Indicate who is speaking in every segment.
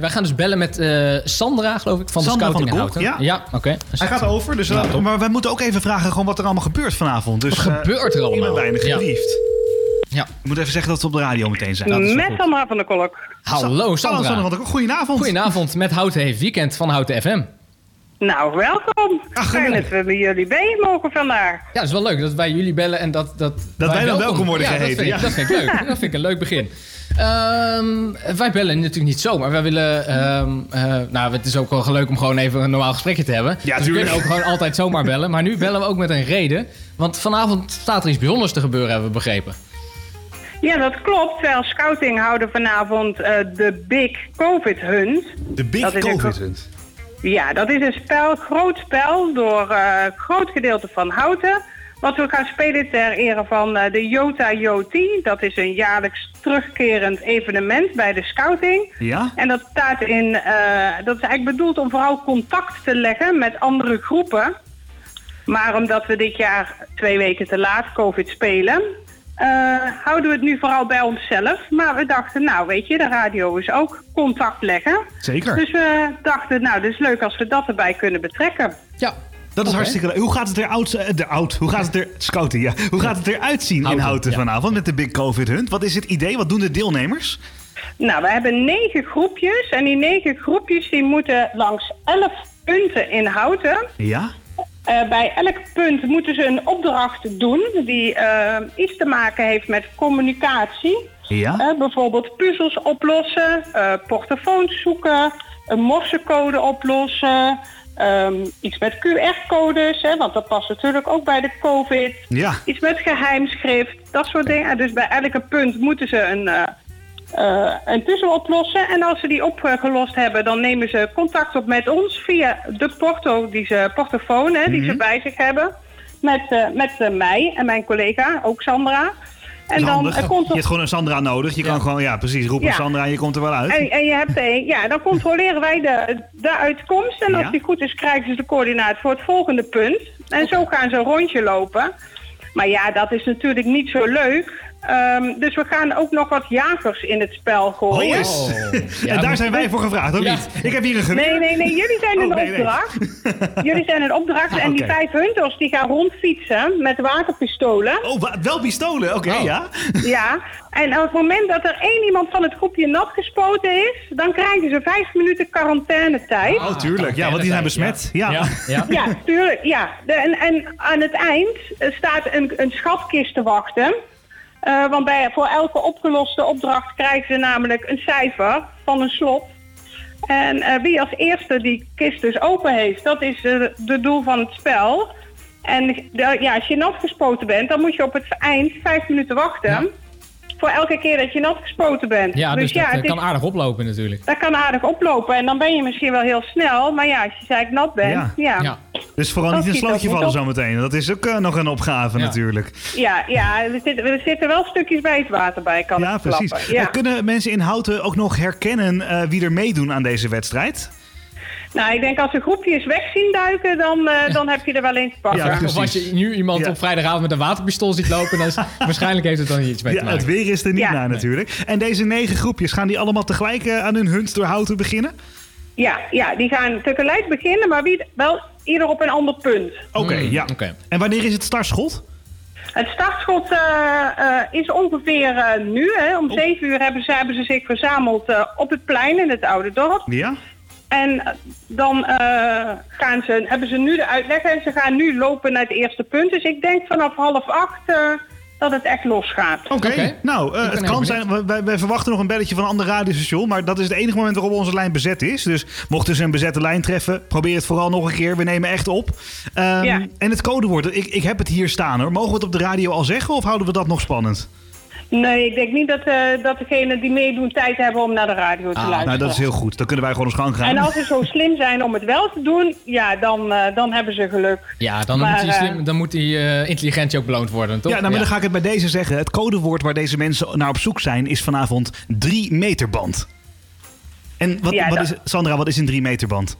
Speaker 1: Wij gaan dus bellen met eh, Sandra, geloof ik, van de
Speaker 2: Sandra van
Speaker 1: Scouting
Speaker 2: de
Speaker 1: en
Speaker 2: Gok,
Speaker 1: Houten.
Speaker 2: ja.
Speaker 1: Ja, oké. Dus
Speaker 2: Hij gaat over, dus
Speaker 1: Ja,
Speaker 2: eh,
Speaker 1: top.
Speaker 2: maar wij moeten ook even vragen gewoon wat er allemaal gebeurt vanavond. Dus,
Speaker 1: Wat gebeurt er
Speaker 2: eh, Ik
Speaker 1: allemaal?
Speaker 2: ben weinig
Speaker 1: Ja.
Speaker 2: gebriefd.
Speaker 1: Ja.
Speaker 2: Ik moet even zeggen dat we op de radio meteen zijn. Dat is wel
Speaker 3: Met
Speaker 2: goed.
Speaker 3: Sandra van der Kolk.
Speaker 1: Hallo
Speaker 2: Hallo
Speaker 1: Sandra.
Speaker 2: Sandra, goedenavond.
Speaker 1: Goedenavond met Houten heeft weekend van Houten FM.
Speaker 3: Nou, welkom.
Speaker 2: Ach,
Speaker 3: Fijn
Speaker 2: gelukkig.
Speaker 3: dat we bij jullie mee mogen vandaag.
Speaker 1: Ja, dat is wel leuk dat wij jullie bellen en dat... Dat,
Speaker 2: wij dan welkom worden
Speaker 1: ja,
Speaker 2: geheten, ja.
Speaker 1: Dat vind, ik, dat vind ik leuk. Dat vind ik een leuk begin. Ehm, wij bellen natuurlijk niet zomaar. Wij willen... ehm, eh, nou, het is ook wel leuk om gewoon even een normaal gesprekje te hebben.
Speaker 2: Ja,
Speaker 1: dus we
Speaker 2: tuurlijk.
Speaker 1: kunnen ook gewoon altijd zomaar bellen. Maar nu bellen we ook met een reden. Want vanavond staat er iets bijzonders te gebeuren, hebben we begrepen.
Speaker 3: Ja, dat klopt. Terwijl Scouting houden vanavond eh, de Big Covid Hunt.
Speaker 2: De
Speaker 3: Dat
Speaker 2: Big
Speaker 3: is een-
Speaker 2: COVID Hunt.
Speaker 3: Ja, dat is een spel, groot spel door eh, een groot gedeelte van Houten. Wat we gaan spelen ter ere van eh, de Jota Joti. Dat is een jaarlijks terugkerend evenement bij de scouting.
Speaker 2: Ja?
Speaker 3: En dat staat in, eh, dat is eigenlijk bedoeld om vooral contact te leggen met andere groepen. Maar omdat we dit jaar twee weken te laat COVID spelen, eh, houden we het nu vooral bij onszelf. Maar we dachten, nou weet je, de radio is ook contact leggen.
Speaker 2: Zeker.
Speaker 3: Dus we dachten, nou, dat is leuk als we dat erbij kunnen betrekken.
Speaker 1: Ja.
Speaker 2: Dat is
Speaker 1: Oké.
Speaker 2: hartstikke leuk. Hoe gaat het eruit? eh, De oud, hoe gaat het er scouting? Ja. Hoe gaat het eruit zien in
Speaker 1: Houten,
Speaker 2: Houten
Speaker 1: ja.
Speaker 2: vanavond met de Big COVID Hunt? Wat is het idee? Wat doen de deelnemers?
Speaker 3: Nou, we hebben negen groepjes. En die negen groepjes die moeten langs elf punten in houten.
Speaker 2: Ja.
Speaker 3: Eh, bij elk punt moeten ze een opdracht doen die eh, iets te maken heeft met communicatie.
Speaker 2: Ja.
Speaker 3: Eh, bijvoorbeeld puzzels oplossen, eh, portofoons zoeken, een morsecode oplossen, ehm, iets met QR-codes, hè, want dat past natuurlijk ook bij de COVID.
Speaker 2: Ja.
Speaker 3: Iets met geheimschrift, dat soort dingen. Dus bij elke punt moeten ze een, eh, eh, een puzzel oplossen. En als ze die opgelost hebben, dan nemen ze contact op met ons via de porto, die ze, portofoon hè, die ze bij zich hebben. Met, eh, met eh, mij en mijn collega, ook Sandra. En dan eh,
Speaker 2: handig.
Speaker 3: komt
Speaker 2: Je
Speaker 3: er
Speaker 2: hebt gewoon een Sandra nodig. Je kan gewoon, ja, precies, roep een
Speaker 3: Ja.
Speaker 2: Sandra en je komt er wel uit.
Speaker 3: En, en je hebt, eh, ja, dan controleren wij de, de uitkomst. En als
Speaker 2: Ja.
Speaker 3: die goed is, krijgen ze de coördinaat voor het volgende punt. En zo gaan ze een rondje lopen. Maar ja, dat is natuurlijk niet zo leuk. Ehm, dus we gaan ook nog wat jagers in het spel
Speaker 2: Oh,
Speaker 3: gooien.
Speaker 2: yes.
Speaker 1: Oh. Ja,
Speaker 2: en daar
Speaker 1: maar-
Speaker 2: zijn wij voor gevraagd, ook
Speaker 1: Ja.
Speaker 2: niet? Ik heb hier een geweer.
Speaker 3: Nee, nee, nee, jullie zijn een
Speaker 2: Oh, nee, nee.
Speaker 3: opdracht. Jullie zijn een opdracht. en die
Speaker 2: oké.
Speaker 3: vijf hunters die gaan rondfietsen met waterpistolen.
Speaker 2: Oh, wa- wel pistolen. Oké,
Speaker 1: Oh.
Speaker 2: ja.
Speaker 3: Ja, en op het moment dat er één iemand van het groepje nat gespoten is, dan krijgen ze vijf minuten quarantainetijd.
Speaker 2: Oh, tuurlijk. Ja, want die zijn besmet. Ja.
Speaker 1: Ah. Ja. ja.
Speaker 3: Ja, tuurlijk. Ja. De- en, en aan het eind eh, staat een, een schatkist te wachten. Eh, want bij, voor elke opgeloste opdracht krijgen ze namelijk een cijfer van een slot. En eh, wie als eerste die kist dus open heeft, dat is eh, de doel van het spel. En de- ja, als je nat gespoten bent, dan moet je op het eind vijf minuten wachten.
Speaker 1: Ja.
Speaker 3: Voor elke keer dat je nat gespoten bent.
Speaker 1: Ja, dus, dat eh,
Speaker 3: het is-
Speaker 1: kan aardig oplopen natuurlijk.
Speaker 3: dat kan aardig oplopen. En dan ben je misschien wel heel snel. Maar ja, als je zei ik nat bent,
Speaker 2: Ja.
Speaker 1: Ja.
Speaker 2: Dus vooral
Speaker 3: Oh, Dat
Speaker 2: niet in
Speaker 3: schiet
Speaker 2: slootje
Speaker 3: ook niet
Speaker 2: vallen
Speaker 3: op.
Speaker 2: zometeen. Dat is ook eh, nog een opgave
Speaker 1: Ja.
Speaker 2: natuurlijk.
Speaker 3: Ja, ja er, zitten, er zitten wel stukjes bij het water bij, kan
Speaker 2: Ja,
Speaker 3: ik
Speaker 2: precies.
Speaker 3: verklappen. Ja.
Speaker 2: Eh, Kunnen mensen in Houten ook nog herkennen eh, wie er meedoen aan deze wedstrijd?
Speaker 3: Nou, ik denk als de groepjes weg zien duiken, dan, eh, dan heb je er wel eens te pakken.
Speaker 2: Ja,
Speaker 1: Of als je nu iemand
Speaker 2: Ja.
Speaker 1: op vrijdagavond met een waterpistool ziet lopen, dan is, waarschijnlijk heeft het dan hier iets mee te
Speaker 2: Ja, het
Speaker 1: maken.
Speaker 2: weer is er niet
Speaker 3: Ja.
Speaker 2: naar natuurlijk. En deze negen groepjes, gaan die allemaal tegelijk eh, aan hun hunt door Houten beginnen?
Speaker 3: ja, ja, die gaan tegelijk beginnen, maar wie, wel ieder op een ander punt.
Speaker 2: Oké,
Speaker 1: Mm,
Speaker 2: ja.
Speaker 1: oké.
Speaker 2: En wanneer is het startschot?
Speaker 3: Het startschot eh, eh, is ongeveer eh, nu. Hè, om
Speaker 2: Oh.
Speaker 3: zeven uur hebben ze, hebben ze zich verzameld eh, op het plein in het oude dorp.
Speaker 2: Ja.
Speaker 3: En eh, dan eh, gaan ze, hebben ze nu de uitleg en ze gaan nu lopen naar het eerste punt. Dus ik denk vanaf half acht eh, dat het echt losgaat.
Speaker 2: Oké.
Speaker 1: Oké.
Speaker 2: Nou, eh,
Speaker 1: ben
Speaker 2: het
Speaker 1: heel
Speaker 2: kan
Speaker 1: benieuwd.
Speaker 2: zijn. we- Wij, wij verwachten nog een belletje van een ander radiostation. Maar dat is het enige moment waarop onze lijn bezet is. Dus mochten ze een bezette lijn treffen, probeer het vooral nog een keer. We nemen echt op. Ehm,
Speaker 3: Ja.
Speaker 2: En het codewoord, ik, ik heb het hier staan hoor. Mogen we het op de radio al zeggen of houden we dat nog spannend?
Speaker 3: Nee, ik denk niet dat, eh dat degenen die meedoen tijd hebben om naar de radio te
Speaker 1: Ah,
Speaker 3: luisteren.
Speaker 2: Nou, dat is heel goed. Dan kunnen wij gewoon ons gang gaan.
Speaker 3: En als ze zo slim zijn om het wel te doen, ja, dan, eh, dan hebben ze geluk.
Speaker 1: Ja, dan
Speaker 3: Maar,
Speaker 1: moet die,
Speaker 3: eh,
Speaker 1: slim, dan moet die eh, intelligentie ook beloond worden, toch?
Speaker 2: Ja, nou, maar dan ga ik het bij deze zeggen. Het codewoord waar deze mensen naar op zoek zijn is vanavond 3 meterband. En wat,
Speaker 3: Ja,
Speaker 2: wat
Speaker 3: dat-
Speaker 2: is, Sandra, wat is een 3 meter band?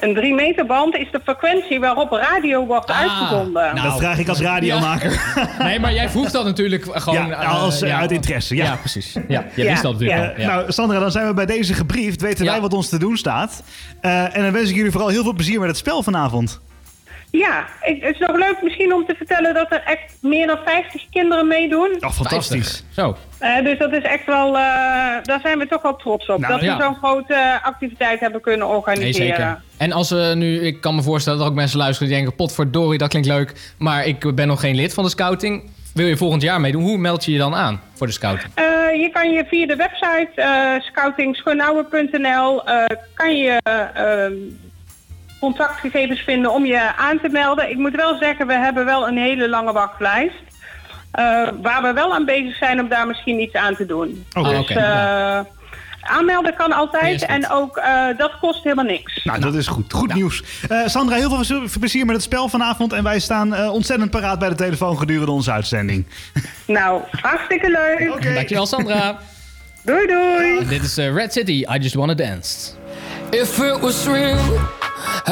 Speaker 3: Een 3 meter band is de frequentie waarop radio wordt
Speaker 1: Ah,
Speaker 3: uitgezonden.
Speaker 1: nou.
Speaker 2: dat vraag ik als radiomaker.
Speaker 1: Nee, maar jij vroeg dat natuurlijk gewoon...
Speaker 2: Ja,
Speaker 1: eh,
Speaker 2: als, eh, uit interesse, ja.
Speaker 1: precies. Ja, jij
Speaker 3: Ja,
Speaker 1: wist dat natuurlijk
Speaker 3: ja.
Speaker 1: al, ja.
Speaker 2: Nou, Sandra, dan zijn we bij deze gebriefd. Weten
Speaker 1: Ja.
Speaker 2: wij wat ons te doen staat. Eh, en dan wens ik jullie vooral heel veel plezier met het spel vanavond.
Speaker 3: Ja, ik- het is nog leuk misschien om te vertellen dat er echt meer dan 50 kinderen meedoen.
Speaker 2: Oh,
Speaker 1: Vijftig. Zo.
Speaker 3: Eh, dus dat is echt wel, eh, daar zijn we toch wel trots op.
Speaker 2: Nou,
Speaker 3: dat
Speaker 1: ja.
Speaker 3: we zo'n grote eh, activiteit hebben kunnen
Speaker 1: Nee,
Speaker 3: organiseren.
Speaker 1: zeker. En als we nu, ik kan me voorstellen dat er ook mensen luisteren die denken: Potverdorie, dat klinkt leuk, maar ik ben nog geen lid van de scouting. Wil je volgend jaar meedoen? Hoe meld je je dan aan voor de scouting?
Speaker 3: Eh, je kan je via de website eh scoutingschoonouwe.nl eh, kan je eh, contactgegevens vinden om je aan te melden. Ik moet wel zeggen, we hebben wel een hele lange wachtlijst. eh, waar we wel aan bezig zijn om daar misschien iets aan te doen.
Speaker 2: Oké.
Speaker 1: Ah,
Speaker 3: Dus eh, aanmelden kan altijd
Speaker 1: Eerst goed.
Speaker 3: en ook eh, dat kost helemaal niks.
Speaker 2: Nou, dat is goed. Goed nieuws. Eh, Sandra, heel veel plezier met het spel vanavond. En wij staan eh, ontzettend paraat bij de telefoon gedurende onze uitzending.
Speaker 3: Nou, hartstikke leuk.
Speaker 1: Dankjewel, Sandra.
Speaker 3: Doei doei.
Speaker 1: Dit is eh, Red City, I Just Wanna Dance.
Speaker 4: If it was real,